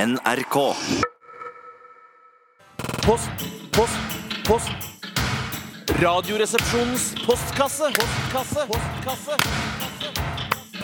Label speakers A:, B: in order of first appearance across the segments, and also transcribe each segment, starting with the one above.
A: NRK.
B: Post, post, post. Radioresepsjonens postkasse. Postkasse. Postkasse.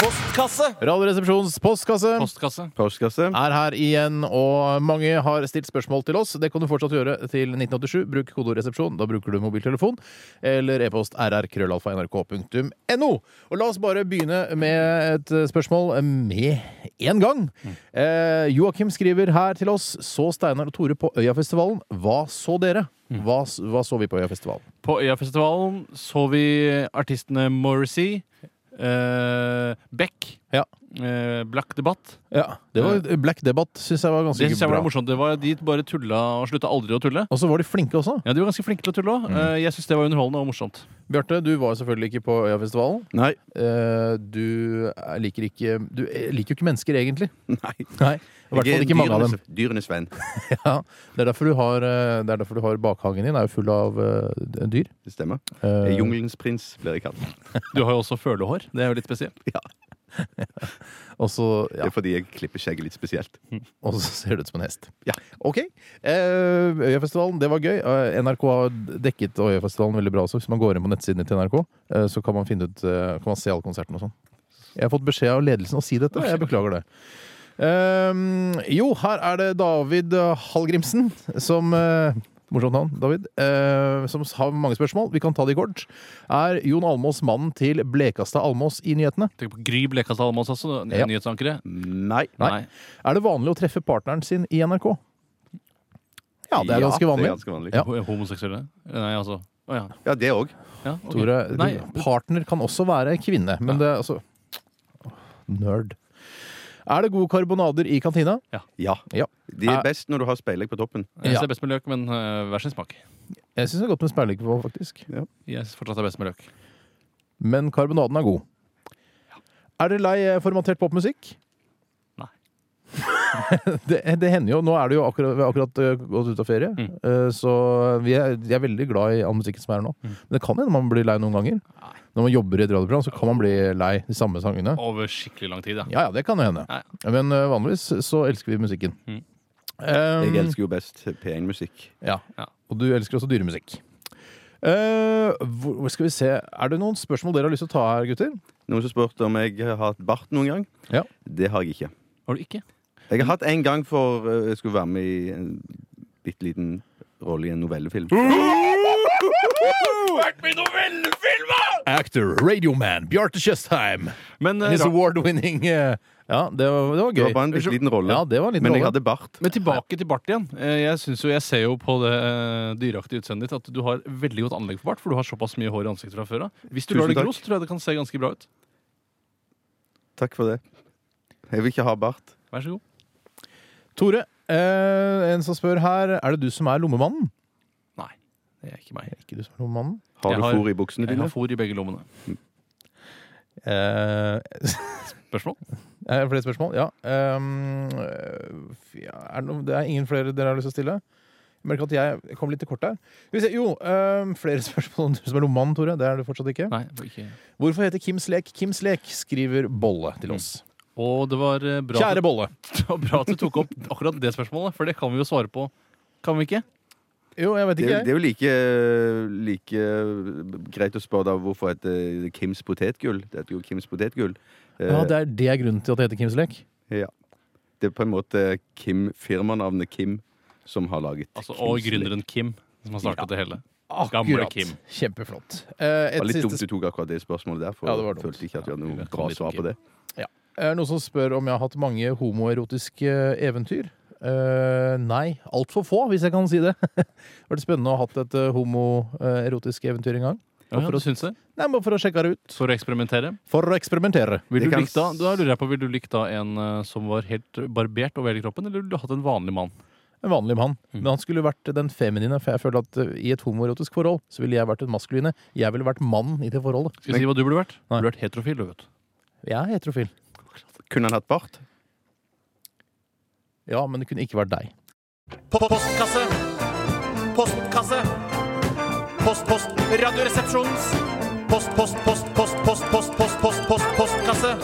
B: Postkasse.
C: Radioresepsjons postkasse
D: Postkasse.
E: Postkasse.
C: er her igjen, og mange har stilt spørsmål til oss. Det kan du fortsatt gjøre til 1987. Bruk kodeord 'resepsjon'. Da bruker du mobiltelefon eller e-post rrkrøllalfa.nrk.no. Og la oss bare begynne med et spørsmål med en gang. Eh, Joakim skriver her til oss. Så Steinar og Tore på Øyafestivalen. Hva så dere? Hva, s- hva så vi på Øyafestivalen?
D: På Øyafestivalen så vi artistene Morrissey, eh, Beck,
C: Ja.
D: eh, Black Debatt.
C: Det var Black Debatt, syns jeg var ganske
D: Det synes jeg var
C: bra.
D: morsomt. Det var De bare tulla og slutta aldri å tulle.
C: Og så var de flinke også.
D: Ja, De var ganske flinke til å tulle
C: Mm.
D: òg. Jeg syns det var underholdende og morsomt.
C: Bjarte, du var selvfølgelig ikke på Øyafestivalen.
E: Nei.
C: Eh, du er- liker ikke Du eh, liker jo ikke mennesker, egentlig.
E: Nei.
C: Nei, I hvert fall ikke altså. mange av dem.
E: Dyrenes- Dyrenes venn.
C: Ja, det, er derfor du har, eh, det er derfor du har bakhagen din. er jo full av eh, dyr.
E: Det stemmer.
C: Eh,
E: Jungelens prins blir jeg kalt.
D: Du har jo også følehår. Det er jo litt spesielt.
C: Og så ja,
E: Det er fordi jeg klipper skjegget litt spesielt.
C: og så ser du ut som en hest.
E: Ja.
C: OK. Eh, Øyafestivalen, det var gøy. Eh, NRK har dekket Øyafestivalen veldig bra også. Hvis man går inn på nettsidene til NRK, eh, så kan man, finne ut, eh, kan man se alle konsertene og sånn. Jeg har fått beskjed av ledelsen å si dette, og jeg beklager det. Eh, jo, her er det David Hallgrimsen som eh, Morsomt navn, David. Eh, som har mange spørsmål. Vi kan ta de kort. Er Jon Almås mannen til Blekastad Almås i nyhetene?
D: Tenk på Gry Blekastad Almås også,
C: Ja.
D: nyhetsankere.
E: Nei.
C: Nei. Er det vanlig å treffe partneren sin i NRK? Ja, det er ganske
E: Det
C: vanlig.
E: er ganske vanlig.
C: Ja.
E: Ja,
D: Ho- Homoseksuelle? Nei, altså. Å ja.
E: det òg.
D: ja ok.
C: Tore,
D: Nei.
C: du- partner kan også være kvinne, men det er altså Nerd. Er det gode karbonader i kantina?
E: Ja.
C: Ja. Eh.
E: De er best når du har speilegg på toppen.
D: Jeg
C: Ja.
D: synes det er best med løk, men eh, hver sin smak.
C: Jeg syns det er godt med speilegg på, faktisk.
D: Jeg synes fortsatt det er best med løk.
C: Men karbonaden er god. Er dere lei eh, formatert popmusikk?
D: Nei.
C: det, det hender jo. Nå er det jo akkurat, vi har akkurat eh, gått ut av ferie,
D: Mm.
C: eh, så vi er, jeg er veldig glad i all musikken som er her nå.
D: Mm.
C: Men det kan hende man blir lei noen ganger. Når man jobber i et radioprogram, så kan man bli lei de samme sangene.
D: Over skikkelig lang tid, ja.
C: Ja, ja, det kan jo hende.
D: Ja,
C: Men eh, vanligvis så elsker vi musikken.
D: Mm.
C: Um,
E: Jeg elsker jo best P1-musikk.
C: ja.
D: Ja.
C: Og du elsker også dyremusikk. Eh, hvor, hvor skal vi se Er det noen spørsmål dere har lyst til å ta her, gutter?
E: Noen som spurte om jeg har hatt bart noen gang.
C: Ja.
E: Det har jeg ikke.
D: Har du ikke?
E: Jeg har hatt en gang for eh, jeg skulle være med i en bitte liten rolle i en novellefilm.
C: Mm. Actor, radioman, Bjarte Tjøstheim.
D: Men, eh,
C: His
D: ra-
C: award-winning eh, Ja, det var, det var
E: Det
C: gøy.
E: var bare en bitte liten rolle.
C: Ja, det var en liten
E: Men jeg
C: rolle.
E: hadde bart.
D: men tilbake til bart igjen. Eh, Jeg, synes jo, jeg ser jo på det eh, dyreaktige utseendet ditt at du har veldig godt anlegg for bart, for du har såpass mye hår i ansiktet fra før av. Hvis du lar
E: Tusen
D: det
E: takk.
D: gro, så tror jeg det kan se ganske bra ut.
E: Takk for det. Jeg vil ikke ha bart.
D: Vær så god.
C: Tore, eh, en som spør her, er det du som er lommemannen?
D: Nei, det er ikke meg.
C: Er det Ikke du som er lommemannen?
E: Har
D: Jeg
E: du
D: har-
E: fôr i buksene
D: Jeg har
E: dine?
D: fôr i begge lommene.
C: Eh,
D: Spørsmål?
C: er det Eh, flere spørsmål? Ja. Um, eh, f- ja, er det, noe, det er ingen flere dere har lyst til å stille? Jeg merker at jeg kom litt til kort her. Skal vi se, jo, eh, flere spørsmål om du som er lommemannen, Tore. Det er du fortsatt ikke.
D: Nei, ikke.
C: Hvorfor heter Kims lek Kims lek? skriver Bolle til oss.
D: Og det var eh, bra,
C: Kjære Bolle.
D: og bra at du tok opp akkurat det spørsmålet, for det kan vi jo svare på. Kan vi ikke?
C: Jo, jeg vet
E: Det,
C: ikke.
E: er- det er jo like, like eh, greit å spørre da hvorfor heter det Kims potetgull. Det heter jo Kims potetgull. Eh,
C: Ja, det er det er grunnen til at det heter Kims lek?
E: Det er på en måte Kim, firmanavnet Kim som har laget
D: Altså,
E: Kims
D: og
E: lek.
D: gründeren Kim, som har startet det hele. Gamle
C: Akkurat.
D: Kim.
C: Kjempeflott. Eh,
E: Det var
C: et
E: litt dumt
C: siste
E: du tok akkurat det spørsmålet der, for
C: Ja, det var
E: jeg
C: dumt.
E: følte ikke at vi
D: Ja,
E: hadde noe
D: det kom
E: bra
D: litt
E: svar
D: om
E: på det.
C: er det noen som spør om jeg har hatt mange homoerotiske eventyr. Eh, nei, altfor få, hvis jeg kan si det. det var det spennende å ha hatt et eh, homoerotisk eventyr en gang.
D: Ja, du syns det?
C: Nei, bare for å sjekke det ut.
D: For å eksperimentere?
C: For å eksperimentere.
D: Vil
E: Det
D: du
E: kan
D: likt da, da lurer jeg på, vil du likt da en eh, som var helt barbert over hele kroppen, eller ville du hatt en vanlig mann?
C: En vanlig mann. Men han skulle vært den feminine, for jeg føler at eh, i et homoerotisk forhold så ville jeg vært den maskuline. Jeg ville vært mannen i det forholdet.
D: Skal jeg si hva du burde vært? Du
C: Nei.
D: burde vært heterofil, du vet.
C: Jeg er heterofil.
E: Kunne han hatt bart?
C: Ja, men det kunne ikke vært deg.
B: Po- Postkasse. Postkasse. Post, post. Radioresepsjonens. Post, post, post, post, post, post, post, post, post, postkasse.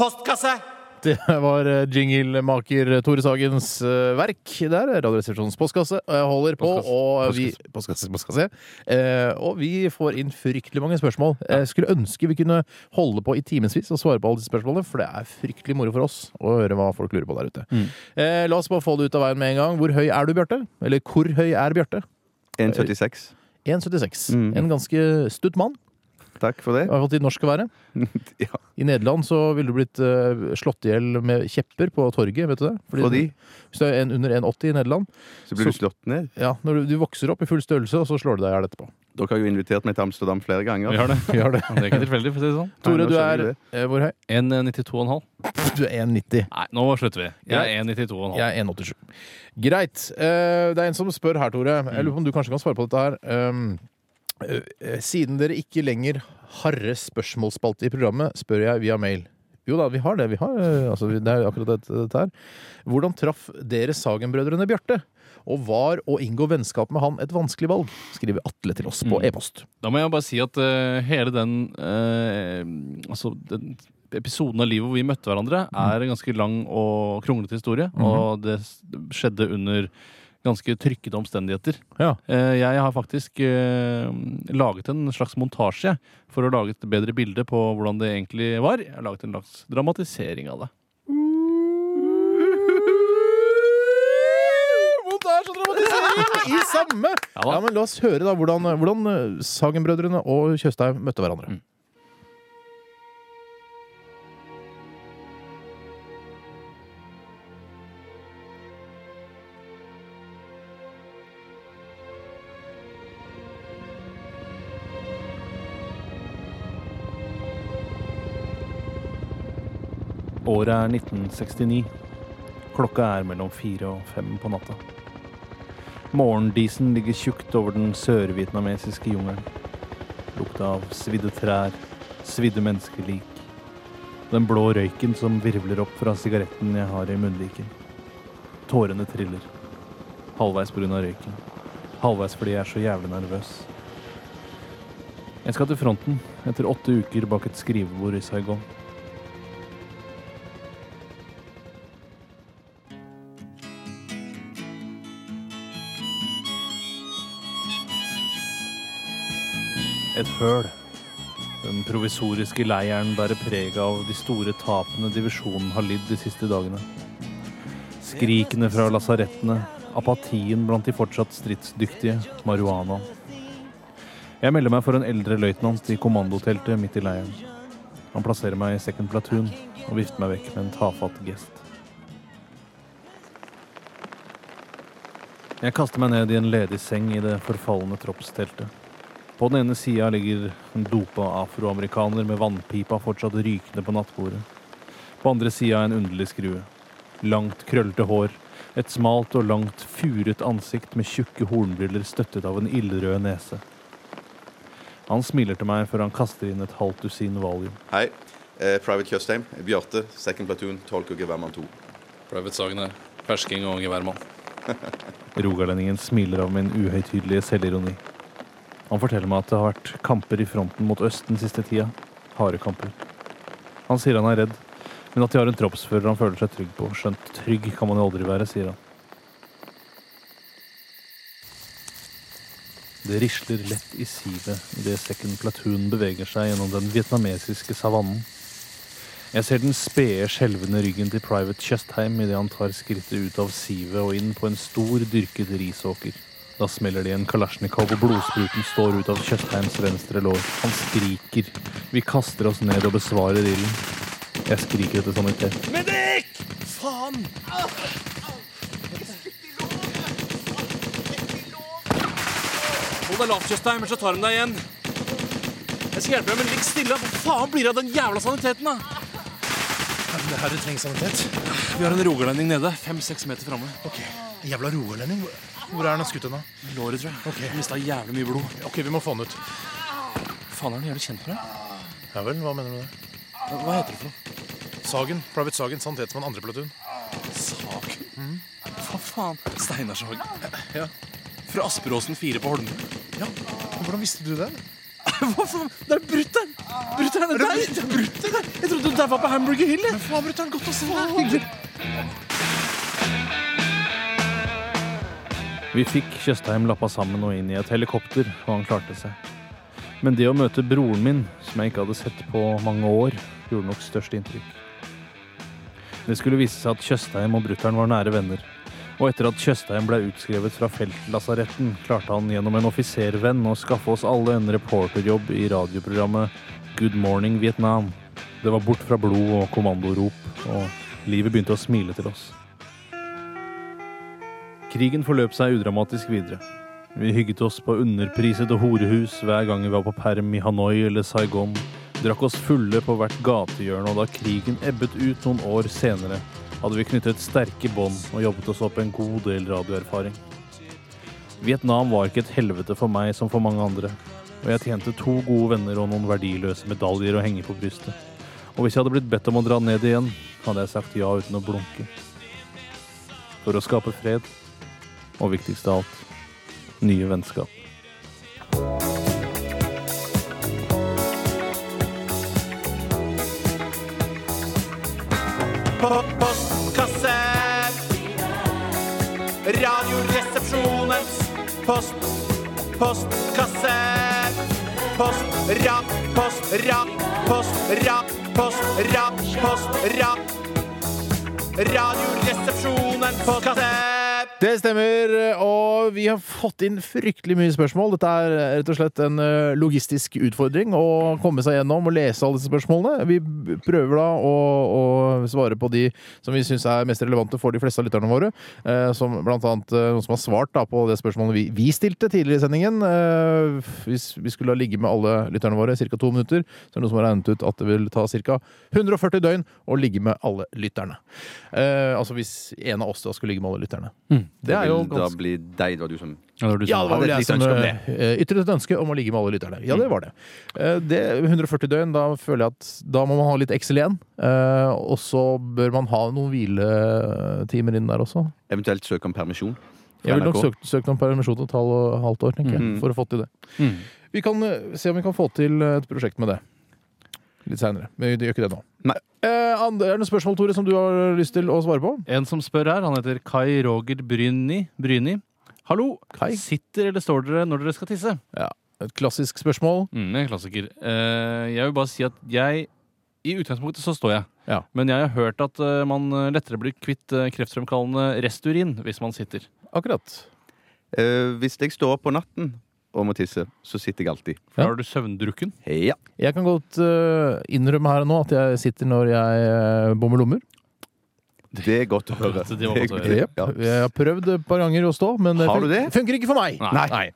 B: Postkasse.
C: Det var eh, jinglemaker Tore Sagens eh, verk der. Radioresepsjonens postkasse. Og jeg holder på,
D: Postkasse.
C: og vi Postkasse, postkasse. Eh, og vi får inn fryktelig mange spørsmål. Jeg skulle ønske vi kunne holde på i timevis og svare på alle disse spørsmålene, for det er fryktelig moro for oss å høre hva folk lurer på der ute. Eh, la oss bare få det ut av veien med en gang. Hvor høy er du, Bjarte? Eller hvor høy er Bjarte?
E: 1,76.
C: 1,76.
E: Mm.
C: En ganske stutt mann.
E: Takk for det.
C: I hvert fall til norsk å være.
E: Ja,
C: I Nederland så ville du blitt eh, slått i hjel med kjepper på torget, vet du det? Fordi-
E: Fordi
C: Hvis du er en, under 1,80 i Nederland,
E: så blir du slått ned.
C: ja, når du, du vokser opp i full størrelse, og så slår du deg i hjel etterpå.
E: Dere har jo invitert meg til Amsterdam flere ganger.
D: Vi har det.
C: Vi har det.
D: Ja, Det er ikke tilfeldig, for å si det sånn.
C: Tore,
E: nå
C: du
E: skjønner
C: er
E: vi det.
C: eh, hvor høy?
D: 1,92,5.
C: Du er 1,90.
D: Nei, nå slutter vi. Jeg er 1,92,5.
C: Jeg er 1,87. Greit. Eh, det er en som spør her, Tore. Jeg lurer på om du kanskje kan svare på dette her. Um, eh, eh, siden dere ikke lenger harre spørsmålsspalte i programmet, spør jeg via mail. Jo da, vi har det. Vi har, eh, altså, vi- det er akkurat dette, dette her. Hvordan traff dere Sagen-brødrene Bjarte? Og var å inngå vennskap med han et vanskelig valg? Skriver Atle til oss på
D: Mm.
C: e-post.
D: Da må jeg bare si at eh, hele den eh, Altså den episoden av livet hvor vi møtte hverandre,
C: Mm.
D: er en ganske lang og kronglete historie.
C: Mm-hmm.
D: Og det s- skjedde under ganske trykkede omstendigheter.
C: Ja.
D: Eh, jeg har faktisk eh, laget en slags montasje for å lage et bedre bilde på hvordan det egentlig var. Jeg har laget en slags dramatisering av det.
C: Montasje og dramatisering i samme!
D: Ja
C: Ja,
D: da.
C: men La oss høre da hvordan, hvordan eh, Sagen-brødrene og Tjøstheim møtte hverandre.
D: Året er 1969. Klokka er mellom fire og fem på natta. Morgendisen ligger tjukt over den sørvietnamesiske jungelen. Lukta av svidde trær, svidde menneskelik. Den blå røyken som virvler opp fra sigaretten jeg har i munnviken. Tårene triller. Halvveis pga. røyken. Halvveis fordi jeg er så jævlig nervøs. Jeg skal til fronten etter åtte uker bak et skrivebord i Saigon. et høl. Den provisoriske leiren bærer preg av de store tapene divisjonen har lidd de siste dagene. Skrikene fra lasarettene, apatien blant de fortsatt stridsdyktige, marihuanaen. Jeg melder meg for en eldre løytnant i kommandoteltet midt i leiren. Han plasserer meg i second platoon og vifter meg vekk med en tafatt gest. Jeg kaster meg ned i en ledig seng i det forfalne troppsteltet. På den ene sida ligger en dopa afroamerikaner med vannpipa fortsatt rykende på nattbordet. På andre sida en underlig skrue. Langt, krøllete hår. Et smalt og langt, furet ansikt med tjukke hornbriller støttet av en ildrød nese. Han smiler til meg før han kaster inn et halvt dusin valium.
F: Hei. Eh, Private Tjøstheim. Bjarte, second platoon, tolk og geværmann 2.
G: Private Sagen er fersking og geværmann.
D: Rogalendingen smiler av min uhøytidelige selvironi. Han forteller meg at det har vært kamper i fronten mot øst den siste tida. Harde kamper. Han sier han er redd, men at de har en troppsfører han føler seg trygg på. Skjønt trygg kan man jo aldri være, sier han. Det risler lett i sivet idet second platoon beveger seg gjennom den vietnamesiske savannen. Jeg ser den spede, skjelvende ryggen til private Tjøstheim idet han tar skrittet ut av sivet og inn på en stor, dyrket risåker. Da smeller det i en kalasjnikov, og blodspruten står ut av Tjøstheims venstre lår. Han skriker. Vi kaster oss ned og besvarer ilden. Jeg skriker etter sanitet.
B: Hold deg lavt, Tjøstheim, ellers så tar de deg igjen. Jeg skal hjelpe deg, men ligg stille. Hva faen blir det av den jævla saniteten, da?
H: Det er her det trengs sanitet.
B: Vi har en rogalending nede, fem-seks meter framme.
H: Ok, Jævla rogalending. Hvor er han skutt henne?
B: Låret, tror jeg. Okay. Mista jævlig mye blod.
H: Ok, vi må få han ut.
B: Faen, er den jævlig kjent for deg?
H: Ja vel, hva mener du med det?
B: Hva heter det for noe?
H: Sagen. Private Sagen, sanitetsmann, andre platoon. Mhm.
B: Sak. Hva faen? Steinarshag. Fra Asperåsen 4 på Holmen.
H: Hvordan visste du det?
B: Hva faen? Det er brutt der!
I: Brutter'n, det er deg! Jeg trodde du daua på Hamburger Hill. jeg.
J: Men faen, brutter'n, godt å se deg!
K: Vi fikk Tjøstheim lappa sammen og inn i et helikopter, og han klarte seg. Men det å møte broren min, som jeg ikke hadde sett på mange år, gjorde nok størst inntrykk. Det skulle vise seg at Tjøstheim og brutter'n var nære venner. Og etter at Tjøstheim ble utskrevet fra feltlasaretten, klarte han gjennom en offiservenn å skaffe oss alle en reporterjobb i radioprogrammet Good Morning Vietnam. Det var bort fra blod og kommandorop, og livet begynte å smile til oss. Krigen forløp seg udramatisk videre. Vi hygget oss på underprisede horehus hver gang vi var på perm i Hanoi eller Saigon. Drakk oss fulle på hvert gatehjørne, og da krigen ebbet ut noen år senere, hadde vi knyttet sterke bånd og jobbet oss opp en god del radioerfaring. Vietnam var ikke et helvete for meg som for mange andre, og jeg tjente to gode venner og noen verdiløse medaljer å henge på brystet. Og hvis jeg hadde blitt bedt om å dra ned igjen, hadde jeg sagt ja uten å blunke. For å skape fred og viktigst av alt, nye vennskap.
B: på postkasse. Radioresepsjonens post, postkasse. Post, rap, post, rap, post, rap, post, rap, post, rap. Radioresepsjonens postkasse.
C: Det stemmer, og vi har fått inn fryktelig mye spørsmål. Dette er rett og slett en eh, logistisk utfordring å komme seg gjennom og lese alle disse spørsmålene. Vi b- prøver da å, å svare på de som vi syns er mest relevante for de fleste av lytterne våre. eh, Som blant annet eh, noen som har svart da på det spørsmålet vi, vi stilte tidligere i sendingen. Eh, Hvis vi skulle ha ligget med alle lytterne våre i ca. to minutter, så er det noen som har regnet ut at det vil ta ca. 140 døgn å ligge med alle lytterne. Eh, Altså hvis en av oss da skulle ligge med alle lytterne. Det er jo
E: vil da
C: ganske
E: bli deg, det var du som
C: ja, det var
E: hadde
C: vel
E: et
C: jeg
E: lite
C: som
E: ønske om Mm.
C: eh, ytret et ønske om å ligge med alle lytterne. Ja, det var det. Eh, Det 140 døgn, da føler jeg at da må man ha litt Excel igjen. Eh, Og så bør man ha noen hviletimer inn der også.
E: eventuelt søker om permisjon.
C: Jeg ville nok
E: NRK.
C: søkt, søkt om permisjon til et halv- halvt år, tenker jeg,
E: Mhm.
C: for å få til det. Vi kan eh, se om vi kan få til et prosjekt med det. Litt seinere. Men vi gjør ikke det nå.
E: Nei.
C: Eh, andre, er det noen spørsmål, Tore, som du har lyst til å svare på?
K: En som spør her, han heter Kai Roger Bryni. Bryni. Hallo!
C: Kai?
K: Sitter eller står dere når dere skal tisse?
C: Et klassisk spørsmål.
D: Mm, en klassiker. Eh, jeg vil bare si at jeg I utgangspunktet så står jeg.
C: Ja.
D: Men jeg har hørt at eh, man lettere blir kvitt eh, kreftfremkallende resturin hvis man sitter.
C: Akkurat.
E: Eh, hvis jeg står opp på natten og må tisse, så sitter jeg alltid.
D: For
C: Ja.
D: da er du søvndrukken.
E: Ja.
C: Jeg kan godt øh, innrømme her og nå at jeg sitter når jeg øh, bommer lommer.
E: Det er godt å høre.
D: Det var godt å høre.
E: Det- ja.
C: Jeg har prøvd et par ganger å stå, men
E: Har
C: fun-
E: du det?
C: funker ikke for meg.
D: Nei.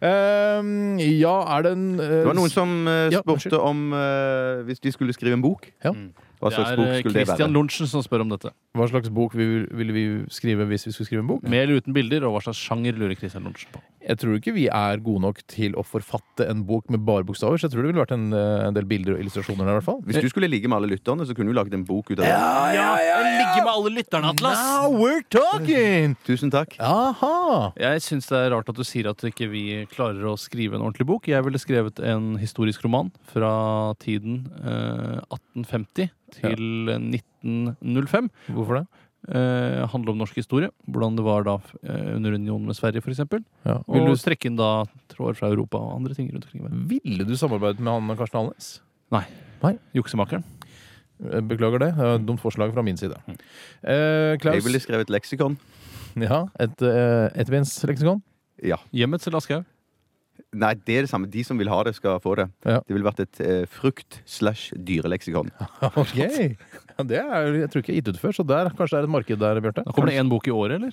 C: Ehm, ja, er det en
E: Det var noen som eh,
C: Ja,
E: spurte om eh, hvis de skulle skrive en bok.
C: Ja.
E: Mm. Hva
D: Det
E: slags
D: er
E: bok
D: eh,
E: skulle det være?
D: Christian Lorentzen som spør om dette.
C: Hva slags bok vi, ville vi skrive hvis vi skulle skrive en bok?
D: Med eller uten bilder, og hva slags sjanger lurer Christian Lorentzen på?
C: Jeg tror ikke vi er gode nok til å forfatte en bok med bare bokstaver, så jeg tror det ville vært en, øh, en del bilder og illustrasjoner der, i hvert fall.
E: Hvis du skulle ligge med alle lytterne, så kunne du laget en bok ut av det.
D: Ligge med alle lytterne,
C: Now we're talking!
E: Tusen takk.
C: Aha!
D: Jeg syns det er rart at du sier at ikke vi klarer å skrive en ordentlig bok. Jeg ville skrevet en historisk roman fra tiden eh, 1850 til 1905.
C: Hvorfor det?
D: Eh, handle om norsk historie. Hvordan det var da eh, under unionen med Sverige, f.eks.
C: Ja.
D: Og
C: Ville, du,
D: trekke inn da tråder fra Europa og andre ting rundt omkring i verden.
C: ville du samarbeidet med han Karsten Alnes?
D: Juksemakeren.
C: Eh, Beklager det. det var et Dumt forslag fra min side.
D: Mm.
C: Eh, Klaus,
E: Jeg ville skrevet leksikon.
C: ja, et uh, ettbensleksikon?
E: Ja.
D: Hjemmets Laschehaug.
E: Nei, det er det samme. De som vil ha det, skal få det.
C: Ja.
E: Det ville vært et eh, frukt-slash-dyreleksikon.
C: Ok. Ja, det er, jo- jeg tror ikke jeg har gitt ut før, så der, kanskje det er et marked der, Bjarte.
D: Da kommer det én bok i året, eller?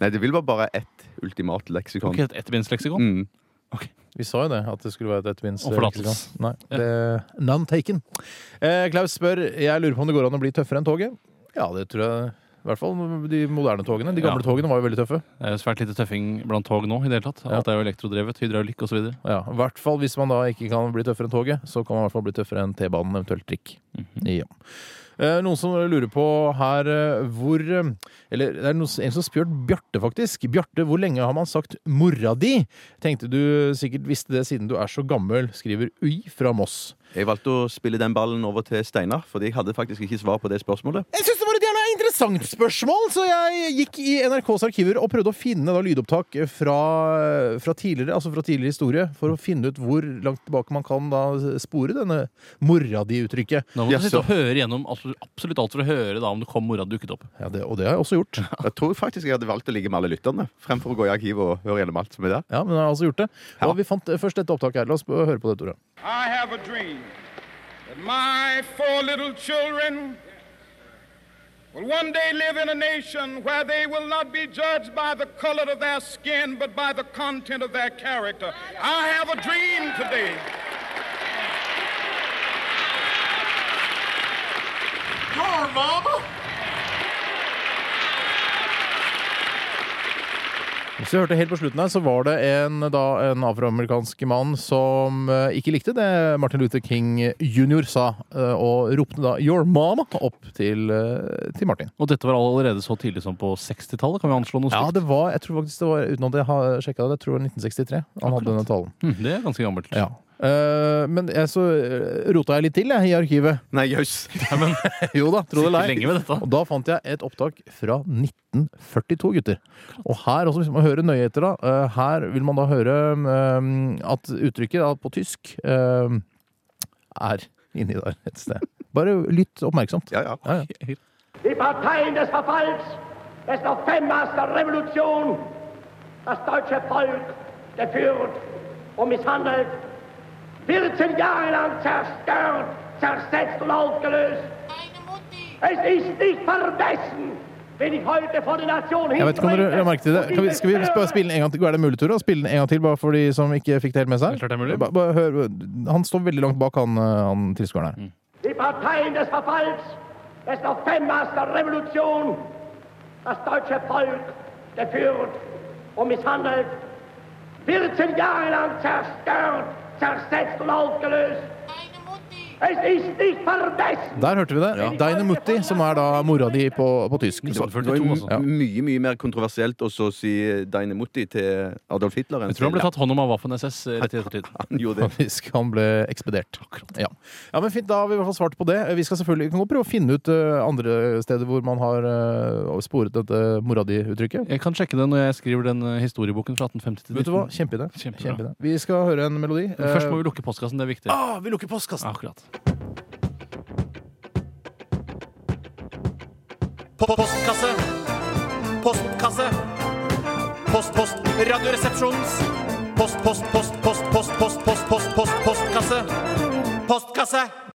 E: Nei, det vil være bare ett ultimat leksikon.
D: Ok, et ettbindsleksikon.
E: Mm.
C: Vi sa jo det, at det skulle være et
D: Og forlatelse.
C: ettbensleksikon. Nei, det, none taken. Eh, Klaus spør jeg lurer på om det går an å bli tøffere enn toget. Ja, det tror jeg. I hvert fall de moderne togene. De gamle
D: Ja.
C: togene var jo veldig tøffe.
D: Det er jo Eh, svært lite tøffing blant tog nå i det hele tatt. Alt er jo elektrodrevet, hydraulikk osv.
C: Ja, I hvert fall hvis man da ikke kan bli tøffere enn toget, så kan man i hvert fall bli tøffere enn T-banen, eventuelt trikk. Ja. Eh, Noen som lurer på her eh, hvor eh, Eller det er noen, en som spør Bjarte, faktisk. Bjarte, hvor lenge har man sagt 'mora di'? Tenkte du sikkert visste det siden du er så gammel, skriver Uy fra Moss.
E: Jeg valgte å spille den ballen over til Steinar, fordi jeg hadde faktisk ikke svar på det spørsmålet.
C: Jeg syns det var et gjerne interessant spørsmål, så jeg gikk i NRKs arkiver og prøvde å finne da lydopptak fra, fra tidligere altså fra tidligere historie, for å finne ut hvor langt tilbake man kan da spore denne 'mora di'-uttrykket.
D: Nå må du
E: Jaså.
D: sitte og høre gjennom absolutt, absolutt alt for å høre da om det kom mora dukket opp.
C: Ja, det, og det har jeg også gjort.
E: Jeg tror faktisk jeg hadde valgt å ligge med alle lytterne, fremfor å gå i arkivet og høre gjennom alt som er der.
C: Ja, men jeg har altså gjort det. Og vi fant eh, først dette opptaket her. La oss eh, høre på det, Tore.
L: I have a dream that my four little children will one day live in a nation where they will not be judged by the color of their skin, but by the content of their character. I have a dream today. Come on, Mama.
C: Hvis du hørte helt på slutten her, så var det en, da, en afroamerikansk mann som eh, ikke likte det Martin Luther King jr. sa, eh, og ropte da 'Your mama' opp til, eh, til Martin.
D: Og dette var allerede så tidlig som på 60-tallet, kan vi anslå noe
C: Ja,
D: slikt?
C: det var, jeg tror faktisk det var, uten at jeg har sjekka det, jeg tror det var 1963 han hadde denne talen.
D: Hm, det er ganske gammelt.
C: Ja. Eh, men jeg, så eh, rota jeg litt til jeg, i arkivet.
E: Nei, jøss.
C: jo da, tro det eller
D: Sitter
C: ei.
D: lenge med dette.
C: Og da fant jeg et opptak fra 1942, gutter. Og her også, hvis man hører nøye etter, da, eh, her vil man da høre eh, at uttrykket da, på tysk eh, er inni der et sted. Bare lytt oppmerksomt.
E: Ja, ja.
C: Ja, ja.
L: Die Parteien des Verfalls, des Novembers der Revolution, das deutsche Volk geführt und misshandelt, 14 Jahre lang zerstört, zersetzt und aufgelöst. Es ist nicht vergessen, wenn ich heute vor die Nation
C: Jeg vet ikke om dere la merke til det. Kan vi, skal vi bare spille den en gang til? Er det mulig, Tore? å Spille den en gang til, bare for de som ikke fikk det helt med seg?
D: Det er klart det er mulig.
C: Bare, bare hør, han står veldig langt bak han, eh, han tilskueren
D: Mm.
C: her.
L: Die Parteien des Verfalls, des Novembers der Revolution, das deutsche Volk geführt und misshandelt, 14 Jahre lang zerstört, zersetzt und aufgelöst. Es ist nicht vergessen.
C: Der hørte vi det. Deine Mutti, som er da mora di på, på tysk.
E: Det var, det
D: 1942,
E: var
D: altså.
E: jo mye mye mer kontroversielt å så si Deine Mutti til Adolf Hitler enn
D: Jeg tror han ble tatt hånd om av Waffen-SS rett i ettertid.
E: Han gjorde det.
C: Faktisk, Han ble ekspedert. Ja. ja, men Fint, da har vi i hvert fall svart på det. Vi skal selvfølgelig vi kan godt prøve å finne ut eh, andre steder hvor man har eh, sporet dette mora di-uttrykket.
D: Jeg kan sjekke det når jeg skriver den eh, historieboken fra 1850 til
C: Vet du hva? Kjempeidé.
D: Kjempebra.
C: Kjempeidé. Vi skal høre en melodi. Eh,
D: 19. Men Først må vi lukke postkassen, det er viktig.
J: Ah, vi lukker postkassen.
D: Akkurat.
B: Po- Postkasse. Postkasse. Post, post, radioresepsjonens. Post, post, post, post, post, post, post, post, post, postkasse. Postkasse.